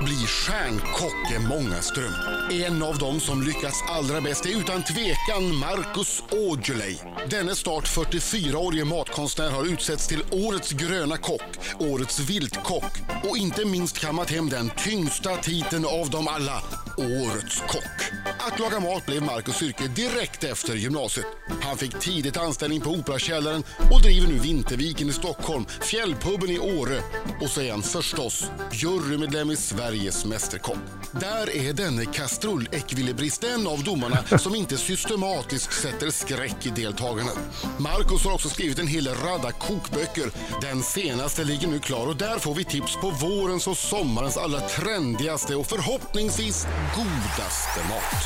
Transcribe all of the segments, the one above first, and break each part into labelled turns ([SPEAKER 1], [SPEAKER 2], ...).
[SPEAKER 1] bli stjärnkock är många ström. En av dem som lyckats allra bäst är utan tvekan Marcus Aujalay. Denne snart 44-årige matkonstnär har utsetts till Årets gröna kock, Årets viltkock och inte minst kammat hem den tyngsta titeln av dem alla, Årets kock. Att laga mat blev Marcus yrke direkt efter gymnasiet. Han fick tidigt anställning på Operakällaren och driver nu Vinterviken i Stockholm, Fjällpubben i Åre och så är han förstås jurymedlem i Sveriges Mästerkock. Där är denne kastrullekvilibrist en av domarna som inte systematiskt sätter skräck i deltagarna. Marcus har också skrivit en hel radda kokböcker. Den senaste ligger nu klar och där får vi tips på vårens och sommarens allra trendigaste och förhoppningsvis godaste mat.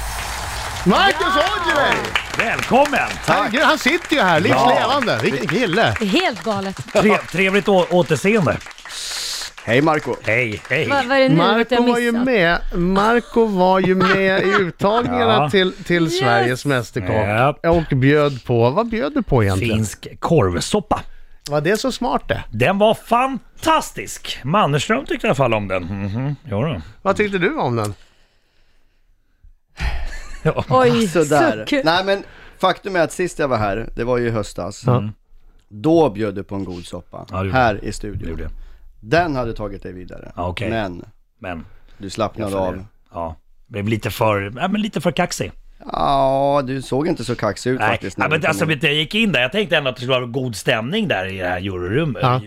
[SPEAKER 2] Marcus Aujalay!
[SPEAKER 3] Välkommen!
[SPEAKER 2] Han, gud, han sitter ju här, livs
[SPEAKER 3] Ja.
[SPEAKER 2] levande. Vilken kille!
[SPEAKER 4] Helt galet.
[SPEAKER 3] Tre, trevligt å, återseende.
[SPEAKER 2] Hej Marco!
[SPEAKER 3] Hej, hej.
[SPEAKER 4] Vad var det nu att
[SPEAKER 2] Marco
[SPEAKER 4] jag
[SPEAKER 2] var ju
[SPEAKER 4] missat?
[SPEAKER 2] med, Marco var ju med i uttagningarna
[SPEAKER 3] Ja.
[SPEAKER 2] till, till Sveriges Mästerkock. Och bjöd på, vad bjöd du på egentligen?
[SPEAKER 3] Finsk korvsoppa.
[SPEAKER 2] Var det så smart det?
[SPEAKER 3] Den var fantastisk! Mannerström tyckte i alla fall om den. Mhm, jo då.
[SPEAKER 2] Vad tyckte du om den?
[SPEAKER 3] Ja.
[SPEAKER 4] Oj,
[SPEAKER 5] Sådär.
[SPEAKER 4] suck.
[SPEAKER 5] Nej men faktum är att sist jag var här, det var ju i höstas. Då bjöd du på en god soppa.
[SPEAKER 3] Mm. Ja, det gjorde
[SPEAKER 5] här i
[SPEAKER 3] Det
[SPEAKER 5] studion.
[SPEAKER 3] gjorde jag.
[SPEAKER 5] Den hade tagit dig vidare.
[SPEAKER 3] Ja, okej.
[SPEAKER 5] Men
[SPEAKER 3] Men,
[SPEAKER 5] du slappnade av.
[SPEAKER 3] ja. Blev lite för, ja, men lite för kaxig.
[SPEAKER 5] Ja, du såg inte så kaxig ut
[SPEAKER 3] Nej,
[SPEAKER 5] faktiskt. när
[SPEAKER 3] ja, men
[SPEAKER 5] du kom
[SPEAKER 3] alltså,
[SPEAKER 5] in.
[SPEAKER 3] vet du, jag gick in där, jag tänkte ändå att det skulle vara god stämning där i det här juryrummet.
[SPEAKER 2] Ja.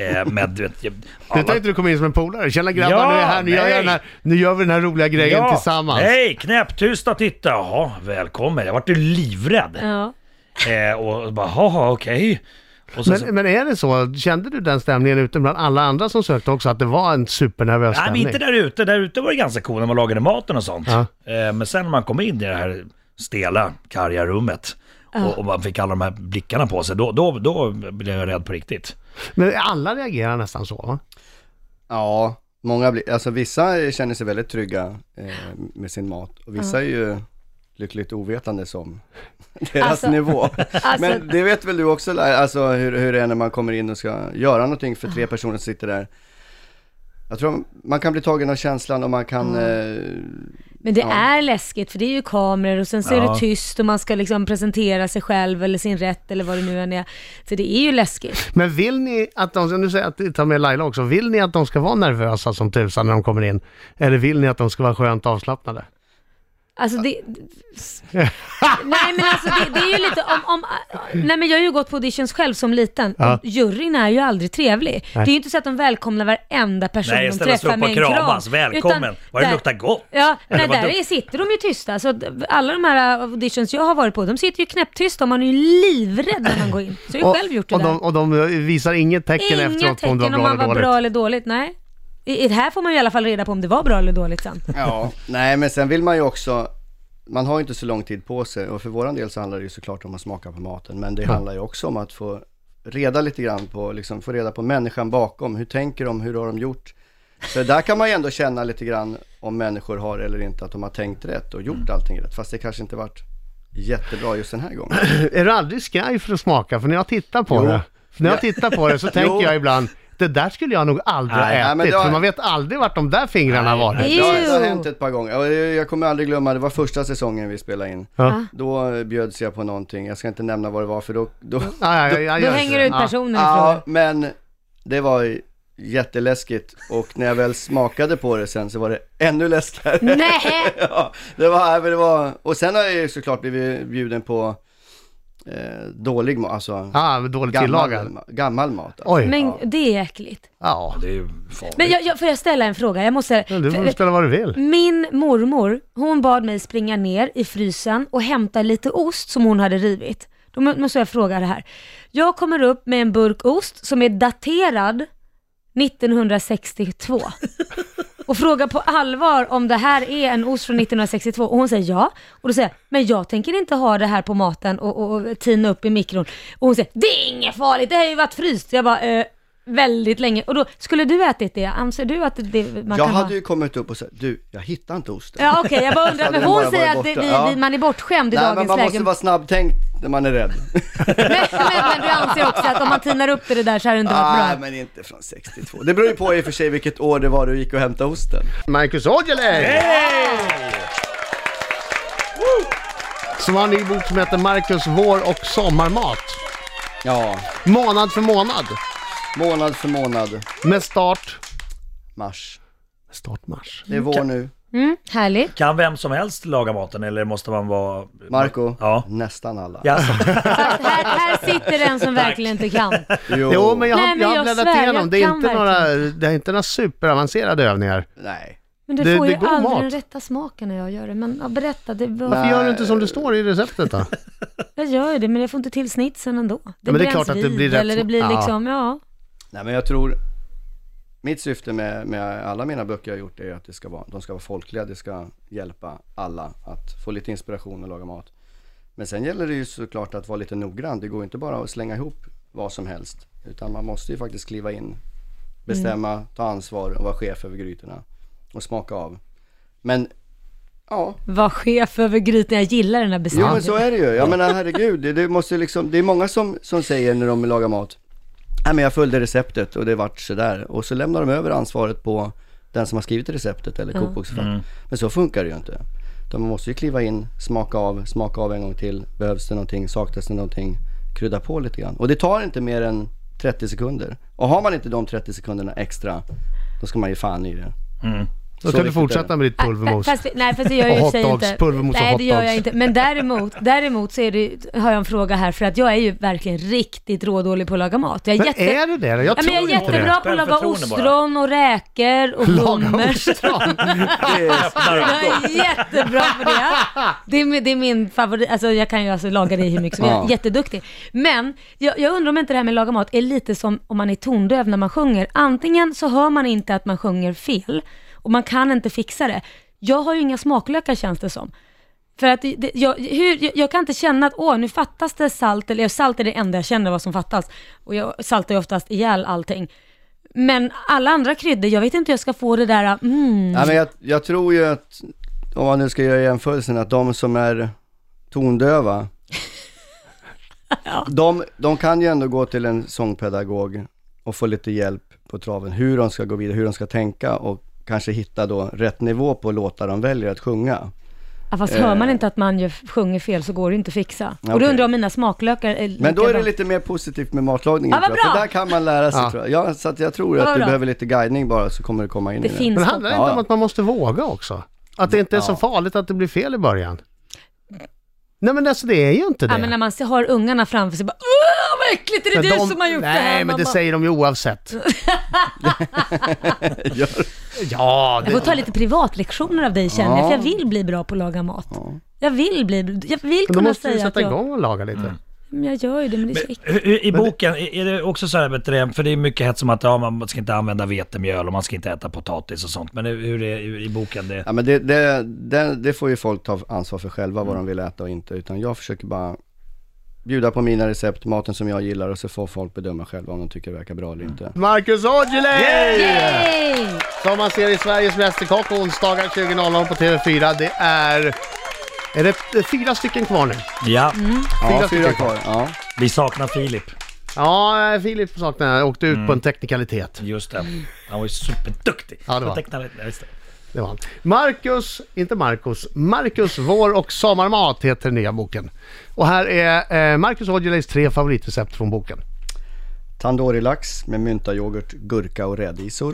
[SPEAKER 3] Eh, Med, du vet, jag-
[SPEAKER 2] Nu
[SPEAKER 3] alla-
[SPEAKER 2] tänkte du komma in som en polare. Tjena grabbar,
[SPEAKER 3] Ja,
[SPEAKER 2] nu är jag här. Nu gör, jag
[SPEAKER 3] nej.
[SPEAKER 2] den här, nu gör vi den här roliga grejen tillsammans.
[SPEAKER 3] Hej, knäpptyst och titta. Jaha, välkommen. Jag vart ju livrädd.
[SPEAKER 4] Ja.
[SPEAKER 3] Eh, och bara, jaha, okej. Och sen så-
[SPEAKER 2] Men, men är det så, kände du den stämningen ute bland alla andra som sökte också, att det var en supernervös
[SPEAKER 3] Nej, men
[SPEAKER 2] stämning?
[SPEAKER 3] inte där ute. Där ute var det ganska cool när man lagade maten och sånt.
[SPEAKER 2] Ja.
[SPEAKER 3] Eh, men sen när man kom in i det här stela, karga rummet och, och man fick alla de här blickarna på sig, då, då, då blev jag rädd på riktigt.
[SPEAKER 2] Men alla reagerar nästan så, va?
[SPEAKER 5] Ja, många blir, alltså vissa känner sig väldigt trygga eh, med sin mat och vissa är ju lyckligt ovetande som deras
[SPEAKER 4] Alltså-
[SPEAKER 5] nivå.
[SPEAKER 4] Alltså-
[SPEAKER 5] Men det vet väl du också, Laila, alltså hur, hur det är när man kommer in och ska göra någonting för tre personer som sitter där. Jag tror man kan bli tagen av känslan och man kan, eh,
[SPEAKER 4] Men det är läskigt för det är ju kameror och sen så är
[SPEAKER 3] Ja.
[SPEAKER 4] det tyst och man ska liksom presentera sig själv eller sin rätt eller vad det nu än är. Så det är ju läskigt.
[SPEAKER 2] Men vill ni att de, nu säger jag att vi tar med Laila också, vill ni att de ska vara nervösa som tusan när de kommer in? Eller vill ni att de ska vara skönt avslappnade?
[SPEAKER 4] Alltså det... nej men alltså det, det är ju lite om, om... Nej men jag har ju gått på auditions själv som liten.
[SPEAKER 2] Ja.
[SPEAKER 4] Och Juryn är ju aldrig trevlig. Det är ju inte så att de välkomnar varenda person
[SPEAKER 3] Nej,
[SPEAKER 4] de
[SPEAKER 3] ställa sig
[SPEAKER 4] träffar
[SPEAKER 3] upp
[SPEAKER 4] med
[SPEAKER 3] och
[SPEAKER 4] en kram.
[SPEAKER 3] kramas. Välkommen.
[SPEAKER 4] Utan
[SPEAKER 3] Vad det
[SPEAKER 4] där-
[SPEAKER 3] luktar gott.
[SPEAKER 4] Ja,
[SPEAKER 3] Eller
[SPEAKER 4] nej,
[SPEAKER 3] vad
[SPEAKER 4] där
[SPEAKER 3] du-
[SPEAKER 4] är, sitter de ju tysta. Så att alla de här äh, auditions jag har varit på, de sitter ju knäpptysta och man är ju livrädd när man går in. Så jag har ju själv gjort det
[SPEAKER 2] och,
[SPEAKER 4] där.
[SPEAKER 2] de, och de eh, visar inget tecken
[SPEAKER 4] Inga
[SPEAKER 2] efteråt på om
[SPEAKER 4] tecken
[SPEAKER 2] det var
[SPEAKER 4] om,
[SPEAKER 2] bra
[SPEAKER 4] han
[SPEAKER 2] eller
[SPEAKER 4] var
[SPEAKER 2] dåligt.
[SPEAKER 4] bra eller dåligt, nej. I, i det här får man ju i alla fall reda på om det var bra eller dåligt sen.
[SPEAKER 5] ja, nej men sen vill man ju också, man har ju inte så lång tid på sig och för våran del så handlar det ju såklart om att smaka på maten men det handlar ju också om att få reda lite grann på, liksom få reda på människan bakom, hur tänker de, hur har de gjort? För där kan man ju ändå känna lite grann om människor har eller inte att de har tänkt rätt och gjort allting rätt fast det kanske inte varit jättebra just den här gången.
[SPEAKER 2] Är du aldrig skraj för att smaka? För när jag tittar på
[SPEAKER 5] Jo.
[SPEAKER 2] det, för när jag tittar på det så tänker jag ibland, det där skulle jag nog aldrig ha
[SPEAKER 3] Nej,
[SPEAKER 5] nej,
[SPEAKER 2] ätit.
[SPEAKER 5] men det har-
[SPEAKER 2] För man vet aldrig vart de där fingrarna har varit.
[SPEAKER 4] nej.
[SPEAKER 5] Det har, det har
[SPEAKER 4] Ew.
[SPEAKER 5] hänt ett par gånger och jag jag kommer aldrig glömma, det var första säsongen vi spelade in.
[SPEAKER 2] Ja.
[SPEAKER 5] Då eh, bjöds jag på någonting, jag ska inte nämna vad det var för då, då,
[SPEAKER 2] Ja, ja, ja, jag
[SPEAKER 4] Då
[SPEAKER 2] gör
[SPEAKER 4] hänger
[SPEAKER 2] det.
[SPEAKER 4] du ut
[SPEAKER 2] Ja.
[SPEAKER 4] personen i
[SPEAKER 5] Ja,
[SPEAKER 4] fråga.
[SPEAKER 5] men det var ju jätteläskigt och när jag väl smakade på det sen så var det ännu läskigare.
[SPEAKER 4] Mm. Nej!
[SPEAKER 5] ja, det var, äh, men det var, och sen har jag ju såklart blivit bjuden på eh, dålig mat, alltså
[SPEAKER 2] Ja, men dåligt tillagad.
[SPEAKER 5] gammal, gammal mat. Alltså.
[SPEAKER 2] Oj.
[SPEAKER 4] Men det är äckligt.
[SPEAKER 2] Ja,
[SPEAKER 3] Det är ju farligt.
[SPEAKER 4] Men jag, jag, får jag ställa en fråga? Jag måste...
[SPEAKER 2] men du får
[SPEAKER 4] för-
[SPEAKER 2] spela vad du vill.
[SPEAKER 4] Min mormor, hon bad mig springa ner i frysen och hämta lite ost som hon hade rivit. Då må- måste jag fråga det här. Jag kommer upp med en burk ost som är daterad 1962 och frågar på allvar om det här är en ost från 1962 och hon säger ja. Och då säger jag, men jag tänker inte ha det här på maten och, och, och tina upp i mikron. Och hon säger, det är inget farligt, det här har ju varit fryst. Jag bara, eh, väldigt länge. Och då, skulle du ätit det? Anser du att det, man
[SPEAKER 5] Jag
[SPEAKER 4] kan ha?
[SPEAKER 5] hade ju kommit upp och sagt, du, jag hittar inte osten.
[SPEAKER 4] Ja okej, jag bara
[SPEAKER 5] Så
[SPEAKER 4] undrar.
[SPEAKER 5] hade
[SPEAKER 4] Men
[SPEAKER 5] den
[SPEAKER 4] hon
[SPEAKER 5] bara
[SPEAKER 4] säger
[SPEAKER 5] varit
[SPEAKER 4] att det,
[SPEAKER 5] borta.
[SPEAKER 4] vi,
[SPEAKER 5] Ja.
[SPEAKER 4] vi, man är bortskärmd i
[SPEAKER 5] Nej, men
[SPEAKER 4] dagens
[SPEAKER 5] man
[SPEAKER 4] läge.
[SPEAKER 5] måste vara snabbtänkt där man är rädd.
[SPEAKER 4] Men, men, men du anser också att om man tinar upp det där så har det inte varit
[SPEAKER 5] ah,
[SPEAKER 4] bra?
[SPEAKER 5] men inte från 62. Det beror ju på i och för sig vilket år det var du gick och hämtade osten.
[SPEAKER 2] Marcus Aujalay! Woo! Som har en ny bok som heter Marcus vår och sommarmat.
[SPEAKER 5] Ja,
[SPEAKER 2] Månad för månad.
[SPEAKER 5] månad för månad,
[SPEAKER 2] Med start...
[SPEAKER 5] mars.
[SPEAKER 2] Start mars.
[SPEAKER 5] Det är vår nu.
[SPEAKER 4] Mm, härligt.
[SPEAKER 3] Kan vem som helst laga maten eller måste man vara...
[SPEAKER 5] Marco,
[SPEAKER 3] Ja.
[SPEAKER 5] nästan alla.
[SPEAKER 3] Jaså?
[SPEAKER 4] Fast här, här sitter den som verkligen inte kan.
[SPEAKER 2] Jo, men jag har,
[SPEAKER 4] Nej, men
[SPEAKER 2] jag har
[SPEAKER 4] jag
[SPEAKER 2] bläddrat
[SPEAKER 4] svär, jag
[SPEAKER 2] igenom. Det är,
[SPEAKER 4] kan
[SPEAKER 2] inte några, det är inte några superavancerade övningar.
[SPEAKER 5] Nej.
[SPEAKER 4] Men det,
[SPEAKER 2] Det-
[SPEAKER 4] får
[SPEAKER 2] det är
[SPEAKER 4] ju
[SPEAKER 2] god
[SPEAKER 4] aldrig
[SPEAKER 2] mat.
[SPEAKER 4] den rätta smaken när jag gör det. Men ja, berätta, det var...
[SPEAKER 2] Varför
[SPEAKER 5] Nej.
[SPEAKER 2] gör du inte som det står i receptet då?
[SPEAKER 4] jag gör ju det men jag får inte till snitsen ändå. Det,
[SPEAKER 2] men det är
[SPEAKER 4] bränns
[SPEAKER 2] klart att det
[SPEAKER 4] vid,
[SPEAKER 2] blir rätt
[SPEAKER 4] Eller det
[SPEAKER 2] smak.
[SPEAKER 4] blir
[SPEAKER 2] Ja.
[SPEAKER 4] liksom, ja.
[SPEAKER 5] Nej, men jag tror... Mitt syfte med, med alla mina böcker jag har gjort är att det ska vara, de ska vara folkliga, det ska hjälpa alla att få lite inspiration och laga mat. Men sen gäller det ju såklart att vara lite noggrann. Det går inte bara att slänga ihop vad som helst. Utan man måste ju faktiskt kliva in, bestämma,
[SPEAKER 2] Mm.
[SPEAKER 5] ta ansvar och vara chef över grytorna. Och smaka av. Men, ja,
[SPEAKER 4] Var chef över grytan, jag gillar den här
[SPEAKER 5] Jo
[SPEAKER 4] beskrivningen.
[SPEAKER 5] men så är det ju. Jag menar herregud, det, det måste liksom, det är många som, som säger när de lagar mat, nej men jag följde receptet och det vart sådär. Och så lämnar de över ansvaret på den som har skrivit receptet eller kokboksförfattaren. Men så funkar det ju inte. Utan man måste ju kliva in, smaka av, smaka av en gång till. Behövs det någonting, saknas det någonting, krydda på lite grann. Och det tar inte mer än 30 sekunder. Och har man inte de 30 sekunderna extra, då ska man ge fan i det.
[SPEAKER 2] Då
[SPEAKER 5] Så
[SPEAKER 2] kan du
[SPEAKER 5] viktigt är
[SPEAKER 2] fortsätta
[SPEAKER 5] det.
[SPEAKER 2] med ditt pulvermos.
[SPEAKER 4] Fast, nej fast det gör jag
[SPEAKER 2] Och
[SPEAKER 4] ju i och för sig
[SPEAKER 2] hotdogs,
[SPEAKER 4] inte.
[SPEAKER 2] pulvermos och
[SPEAKER 4] nej det gör jag
[SPEAKER 2] hotdogs.
[SPEAKER 4] inte. Men däremot, däremot så är det, har jag en fråga här för att jag är ju verkligen riktigt rådålig på att laga mat. Jag är
[SPEAKER 2] Men
[SPEAKER 4] jätte...
[SPEAKER 2] är det det? Jag
[SPEAKER 4] Ja, men
[SPEAKER 2] tror
[SPEAKER 4] jag är
[SPEAKER 2] inte det.
[SPEAKER 4] jättebra på att laga
[SPEAKER 3] Självförtroende bara.
[SPEAKER 4] ostron och räkor och
[SPEAKER 2] Laga
[SPEAKER 4] hummer.
[SPEAKER 2] ostron.
[SPEAKER 3] Öppnar upp.
[SPEAKER 4] Jag är jättebra på det. Det är, min- det är min favorit. Alltså, jag kan ju alltså laga det hur mycket som helst. Jag är
[SPEAKER 5] Ja.
[SPEAKER 4] Jätteduktig. Men jag, jag undrar om inte det här med laga mat är lite som om man är tondöv när man sjunger. Antingen så hör man inte att man sjunger fel och man kan inte fixa det. Jag har ju inga smaklökar känns det som. För att det, det, jag, hur, jag, jag kan inte känna att åh, nu fattas det salt, eller salt är det enda jag känner vad som fattas. Och jag saltar ju oftast ihjäl allting. Men alla andra kryddor, jag vet inte hur jag ska få det där, mm,
[SPEAKER 5] Nej, men jag, jag tror ju att, om man nu ska göra jämförelsen, att de som är tondöva, de, de kan ju ändå gå till en sångpedagog och få lite hjälp på traven, hur de ska gå vidare, hur de ska tänka och kanske hitta då rätt nivå på låtar de väljer att sjunga.
[SPEAKER 4] Ja, fast hör
[SPEAKER 2] Eh.
[SPEAKER 4] man inte att man ju sjunger fel så går det inte att fixa. Och då
[SPEAKER 5] Okej.
[SPEAKER 4] undrar jag om mina smaklökar eh, är
[SPEAKER 5] Men då är det
[SPEAKER 4] likadana.
[SPEAKER 5] lite mer positivt med matlagningen
[SPEAKER 4] Ja, vad
[SPEAKER 5] tror jag, för
[SPEAKER 4] bra!
[SPEAKER 5] där kan man lära sig
[SPEAKER 2] Ja.
[SPEAKER 5] tror jag. Ja, så att jag tror att
[SPEAKER 4] vad
[SPEAKER 5] du
[SPEAKER 4] bra.
[SPEAKER 5] behöver lite guidning bara så kommer du komma in
[SPEAKER 4] Det
[SPEAKER 5] i det.
[SPEAKER 4] finns
[SPEAKER 2] Men det
[SPEAKER 4] något.
[SPEAKER 2] handlar inte om att man måste våga också? Att det inte är så
[SPEAKER 5] Ja.
[SPEAKER 2] farligt att det blir fel i början? Nej men alltså det är ju inte det.
[SPEAKER 4] Ja, men när man se- har ungarna framför sig bara Åh, vad äckligt, är det
[SPEAKER 2] Men
[SPEAKER 4] du
[SPEAKER 2] de-
[SPEAKER 4] som har gjort
[SPEAKER 2] Nej,
[SPEAKER 4] det här
[SPEAKER 2] men det
[SPEAKER 4] mamma?"
[SPEAKER 2] säger de ju oavsett. ja,
[SPEAKER 4] Jag får
[SPEAKER 2] det,
[SPEAKER 4] ta lite privatlektioner av dig känner jag,
[SPEAKER 5] Ja.
[SPEAKER 4] för jag vill bli bra på att laga mat. Jag vill bli, jag vill
[SPEAKER 2] men då
[SPEAKER 4] kunna
[SPEAKER 2] måste du
[SPEAKER 4] säga att
[SPEAKER 2] sätta
[SPEAKER 4] jag, Mm.
[SPEAKER 2] igång och laga lite.
[SPEAKER 4] Men jag gör ju det, men det är så äckligt.
[SPEAKER 3] Men, i- I boken, i- är det också så här, vet du, det, för det är mycket hets om att ja, man ska inte använda vetemjöl och man ska inte äta potatis och sånt. Men hur- hur är det i boken? Det,
[SPEAKER 5] Ja, men det, det, det, det får ju folk ta ansvar för själva vad de vill äta och inte. Utan jag försöker bara bjuda på mina recept, maten som jag gillar och så får folk bedöma själva om de tycker det verkar bra eller
[SPEAKER 2] Mm.
[SPEAKER 5] inte.
[SPEAKER 2] Marcus Aujalay!
[SPEAKER 4] Yay!
[SPEAKER 2] Som man ser i Sveriges Mästerkock onsdagar 20.00 på TV4. Det är... Är det det är fyra stycken kvar nu?
[SPEAKER 3] Ja,
[SPEAKER 4] Mm.
[SPEAKER 5] Ja,
[SPEAKER 2] stycken
[SPEAKER 5] fyra kvar. Ja.
[SPEAKER 3] vi saknar Filip.
[SPEAKER 2] Ja, Filip saknar jag. Åkte ut på en teknikalitet.
[SPEAKER 3] Just det. Han var ju superduktig.
[SPEAKER 2] Ja, det var.
[SPEAKER 3] Jag tecknade- ja, just det.
[SPEAKER 2] Det var han. Marcus, inte Marcus, Marcus Vår och sommarmat heter den nya boken. Och här är eh, Marcus Aujalays tre favoritrecept från boken.
[SPEAKER 5] Tandoori-lax med mynta, yoghurt, gurka och rädisor.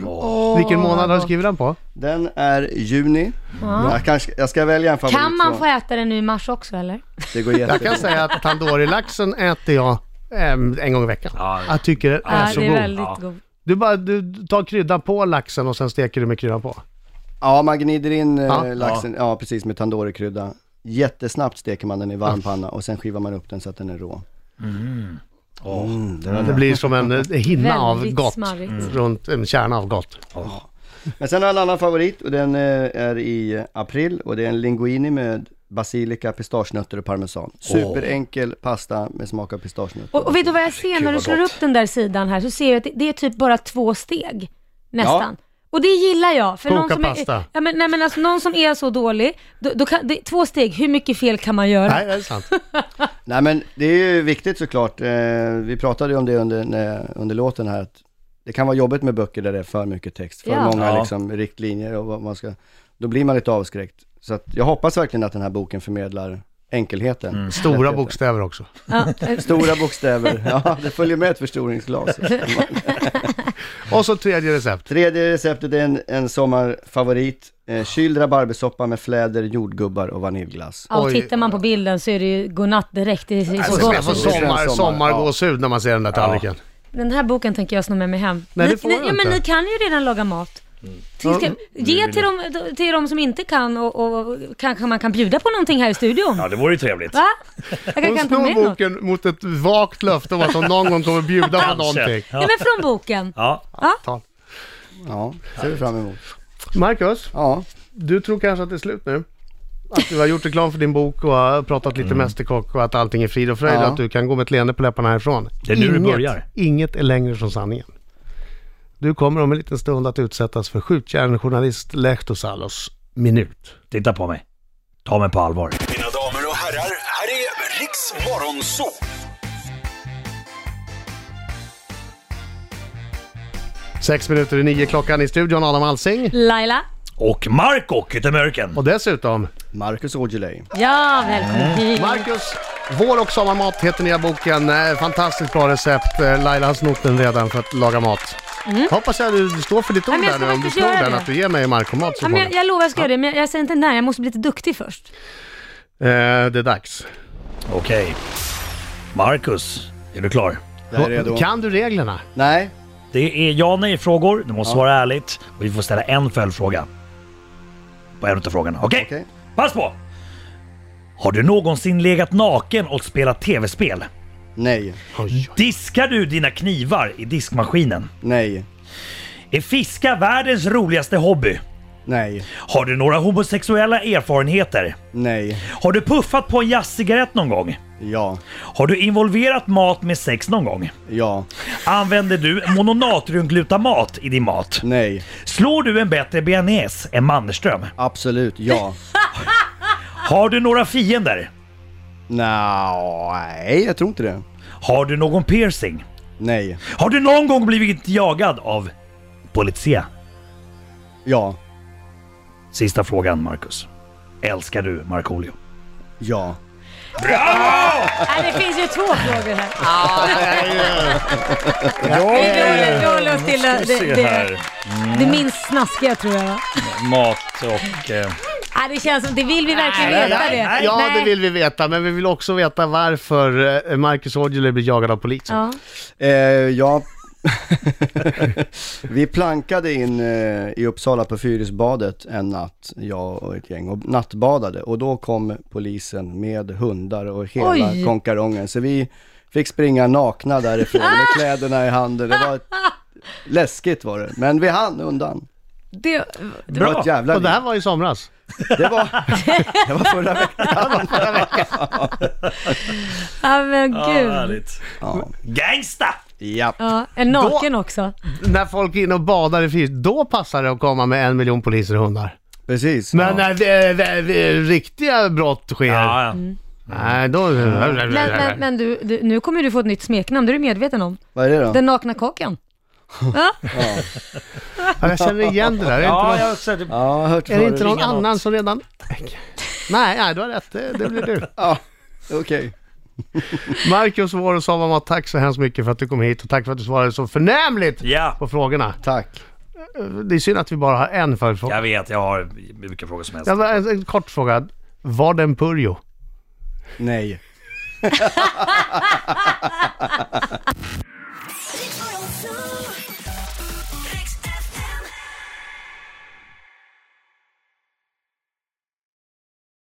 [SPEAKER 2] Vilken månad har du skrivit den på?
[SPEAKER 5] Den är juni. Jag, kanske, jag ska välja en favorit.
[SPEAKER 4] Kan man
[SPEAKER 5] från-
[SPEAKER 4] få äta det nu i mars också eller?
[SPEAKER 5] Det går
[SPEAKER 2] Jag
[SPEAKER 5] jättebra.
[SPEAKER 2] kan säga att tandoori-laxen äter jag ehm, en gång i veckan.
[SPEAKER 3] Ja.
[SPEAKER 2] Jag tycker den är
[SPEAKER 4] Ja,
[SPEAKER 2] så
[SPEAKER 4] det är
[SPEAKER 2] god.
[SPEAKER 4] väldigt
[SPEAKER 3] Ja.
[SPEAKER 4] god.
[SPEAKER 2] Du, bara, du tar kryddan på laxen och sen steker du med kryddan på.
[SPEAKER 5] Ja, man gnider in eh,
[SPEAKER 2] Ja.
[SPEAKER 5] laxen, ja precis, med tandoori-krydda. Jättesnabbt steker man den i varm panna och sen skivar man upp den så att den är rå. Mm, det var
[SPEAKER 2] Det blir som en eh, hinna av
[SPEAKER 4] Väldigt
[SPEAKER 2] gott.
[SPEAKER 4] smarrigt.
[SPEAKER 2] Runt en kärna av gott.
[SPEAKER 5] Men sen har jag en annan favorit och den eh, är i april och det är en linguini med basilika, pistagenötter och parmesan. Superenkel pasta med smak av pistagenötter.
[SPEAKER 4] Och, och vet du vad jag ser när du slår upp den där sidan här så ser jag att det, det är typ bara två steg nästan. Och det gillar jag. För
[SPEAKER 2] Koka
[SPEAKER 4] någon som
[SPEAKER 2] pasta.
[SPEAKER 4] Är, ja, men, nej, men alltså, någon som är så dålig, då, då kan, det, två steg, hur mycket fel kan man göra?
[SPEAKER 2] Nej, det är sant.
[SPEAKER 5] Nej men det är ju viktigt såklart. Eh, vi pratade ju om det under, när- under låten här. Att det kan vara jobbigt med böcker där det är för mycket text, för
[SPEAKER 4] Ja.
[SPEAKER 5] många
[SPEAKER 3] Ja.
[SPEAKER 5] liksom, riktlinjer och vad man ska... Då blir man lite avskräckt. Så att jag hoppas verkligen att den här boken förmedlar enkelheten.
[SPEAKER 2] Stora bokstäver också.
[SPEAKER 4] Ja, eh,
[SPEAKER 5] Stora bokstäver, ja det följer med ett förstoringsglas.
[SPEAKER 2] Och så tredje recept.
[SPEAKER 5] Tredje receptet är en, en sommarfavorit. Eh, kyld rabarbersoppa med fläder, jordgubbar och vaniljglass.
[SPEAKER 4] ja, och
[SPEAKER 2] Oj.
[SPEAKER 4] tittar man på bilden så är det ju godnatt direkt. Det är så
[SPEAKER 2] Alltså,
[SPEAKER 4] gott.
[SPEAKER 2] man får
[SPEAKER 5] Det
[SPEAKER 2] sommar,
[SPEAKER 5] känns sommar,
[SPEAKER 2] sommargåshud när man ser den där tallriken.
[SPEAKER 4] Den här boken tänker jag sno med mig hem.
[SPEAKER 2] Nej,
[SPEAKER 4] ni,
[SPEAKER 2] det får
[SPEAKER 4] ni,
[SPEAKER 2] du
[SPEAKER 4] ja,
[SPEAKER 2] inte.
[SPEAKER 4] men ni kan ju redan laga mat. Ska,
[SPEAKER 2] Ja.
[SPEAKER 4] ge till dem, till dem som inte kan och, och kanske man kan bjuda på någonting här i studion.
[SPEAKER 3] Ja, det vore ju trevligt.
[SPEAKER 4] Va? Jag
[SPEAKER 2] Hon
[SPEAKER 4] kan ta
[SPEAKER 2] snor
[SPEAKER 4] med något.
[SPEAKER 2] boken mot ett vagt löfte om att hon någon gång kommer bjuda på någonting.
[SPEAKER 4] Ja, men från boken.
[SPEAKER 3] Ja,
[SPEAKER 2] Ta.
[SPEAKER 5] Ja, ser vi fram emot.
[SPEAKER 2] Marcus,
[SPEAKER 5] Ja,
[SPEAKER 2] du tror kanske att det är slut nu? Att du har gjort reklam för din bok och har pratat lite
[SPEAKER 3] Mm.
[SPEAKER 2] mästerkock och att allting är frid och fröjd
[SPEAKER 5] Ja.
[SPEAKER 2] och att du kan gå med ett leende på läpparna härifrån.
[SPEAKER 3] Det är nu det börjar.
[SPEAKER 2] Inget är längre från sanningen. Du kommer om en liten stund att utsättas för skjutjärnjournalist Lehto Salos minut.
[SPEAKER 3] titta på mig. Ta mig på allvar.
[SPEAKER 6] Mina damer och herrar, här är Riks Morgonzoo!
[SPEAKER 2] Sex minuter i nio klockan i studion, Adam Alsing.
[SPEAKER 4] Laila.
[SPEAKER 3] Och Marco Kyttemörken.
[SPEAKER 2] Och dessutom
[SPEAKER 5] Marcus Aujalay.
[SPEAKER 4] Ja, välkommen
[SPEAKER 2] Mm.
[SPEAKER 4] hit.
[SPEAKER 2] Marcus, Vår och sommarmat heter nya boken. Eh, Fantastiskt bra recept. Eh, Laila har snott den redan för att laga mat. Hoppas jag du står för ditt ord
[SPEAKER 4] Mm. men jag
[SPEAKER 2] där
[SPEAKER 4] ska
[SPEAKER 2] nu om du
[SPEAKER 4] faktiskt
[SPEAKER 2] snor
[SPEAKER 4] göra
[SPEAKER 2] den,
[SPEAKER 4] det.
[SPEAKER 2] att du ger mig Marco-mat så
[SPEAKER 4] Ja, men jag,
[SPEAKER 2] småningom.
[SPEAKER 4] jag lovar jag ska göra det, men jag, jag säger inte när. Jag måste bli lite duktig först.
[SPEAKER 2] Eh, Det är dags.
[SPEAKER 3] Okej. Marcus, är du klar?
[SPEAKER 5] Där är redo.
[SPEAKER 2] Kan du reglerna?
[SPEAKER 5] Nej,
[SPEAKER 3] Det är ja nej-frågor. Du måste svara ärligt. Och vi får ställa en följdfråga. På en utav frågorna. Okej?
[SPEAKER 5] Okej.
[SPEAKER 3] Pass på! Har du någonsin legat naken och spelat tv-spel?
[SPEAKER 5] nej,
[SPEAKER 3] Diskar du dina knivar i diskmaskinen?
[SPEAKER 5] nej,
[SPEAKER 3] Är fiska världens roligaste hobby?
[SPEAKER 5] nej,
[SPEAKER 3] Har du några homosexuella erfarenheter?
[SPEAKER 5] nej,
[SPEAKER 3] Har du puffat på en jazzcigarett någon gång?
[SPEAKER 5] ja,
[SPEAKER 3] Har du involverat mat med sex någon gång?
[SPEAKER 5] ja,
[SPEAKER 3] Använder du mononatriumglutamat i din mat?
[SPEAKER 5] nej,
[SPEAKER 3] Slår du en bättre bearnaise än Mannerström?
[SPEAKER 5] absolut, ja.
[SPEAKER 3] Har du några fiender?
[SPEAKER 5] Nå, nej, jag tror inte det.
[SPEAKER 3] Har du någon piercing?
[SPEAKER 5] Nej,
[SPEAKER 3] Har du någon gång blivit jagad av polizia?
[SPEAKER 5] ja,
[SPEAKER 3] Sista frågan, Marcus. Älskar du Markoolio?
[SPEAKER 5] ja.
[SPEAKER 4] Nej, det finns ju två frågor här.
[SPEAKER 3] Ja,
[SPEAKER 4] Vi håller- vi håller oss till det, det, det, det minst snaskiga tror jag.
[SPEAKER 3] Mat och... Eh,
[SPEAKER 4] Nej, det känns som, det vill vi verkligen
[SPEAKER 3] Nej,
[SPEAKER 4] veta
[SPEAKER 3] nej,
[SPEAKER 4] det.
[SPEAKER 3] nej.
[SPEAKER 2] Ja, det vill vi veta, men vi vill också veta varför eh, Marcus Aujalay blir jagad av polisen.
[SPEAKER 4] Ja.
[SPEAKER 5] Eh, ja. vi plankade in eh, i Uppsala på Fyrisbadet en natt, jag och ett gäng, och nattbadade. Och då kom polisen med hundar och hela
[SPEAKER 4] Oj.
[SPEAKER 5] konkarongen. Så vi fick springa nakna därifrån med
[SPEAKER 4] Ah!
[SPEAKER 5] kläderna i handen. Det var ett... läskigt var det, men vi hann undan.
[SPEAKER 4] Det,
[SPEAKER 5] Det var ett jävla
[SPEAKER 2] Och det här
[SPEAKER 5] liv.
[SPEAKER 2] var i somras.
[SPEAKER 5] Det var, det var förra veckan.
[SPEAKER 4] ja men gud.
[SPEAKER 3] härligt.
[SPEAKER 5] Ja.
[SPEAKER 3] Gangsta!
[SPEAKER 5] Ja.
[SPEAKER 4] Ja, en naken också.
[SPEAKER 2] När folk är inne och badar i Fyrisbadet, då passar det att komma med en miljon poliser och hundar.
[SPEAKER 5] precis.
[SPEAKER 2] Men när eh, v- v- riktiga brott sker,
[SPEAKER 3] Ja, ja.
[SPEAKER 2] nej då... eh,
[SPEAKER 4] Men, men, men du, du, nu kommer du få ett nytt smeknamn, det är du medveten om.
[SPEAKER 5] Vad är det då?
[SPEAKER 4] Den nakna kocken. Ja,
[SPEAKER 2] Ja, Jag känner igen det där. Är det inte
[SPEAKER 3] ja
[SPEAKER 2] någon,
[SPEAKER 3] jag också, det,
[SPEAKER 5] Ja, jag har hört
[SPEAKER 2] är det inte
[SPEAKER 5] förut.
[SPEAKER 2] någon annan som redan... Nej, nej, du har rätt. Det, det blir du.
[SPEAKER 5] Ja, okej.
[SPEAKER 2] Marcus, vår och Savamat, tack så hemskt mycket för att du kom hit och tack för att du svarade så förnämligt
[SPEAKER 3] Ja.
[SPEAKER 2] på frågorna.
[SPEAKER 5] Tack.
[SPEAKER 2] Det är synd att vi bara har en
[SPEAKER 3] jag
[SPEAKER 2] följdfråga.
[SPEAKER 3] vet, jag har vilka frågor som helst.
[SPEAKER 2] Jag bara, en, en kort fråga. Var det en purjo?
[SPEAKER 5] Nej.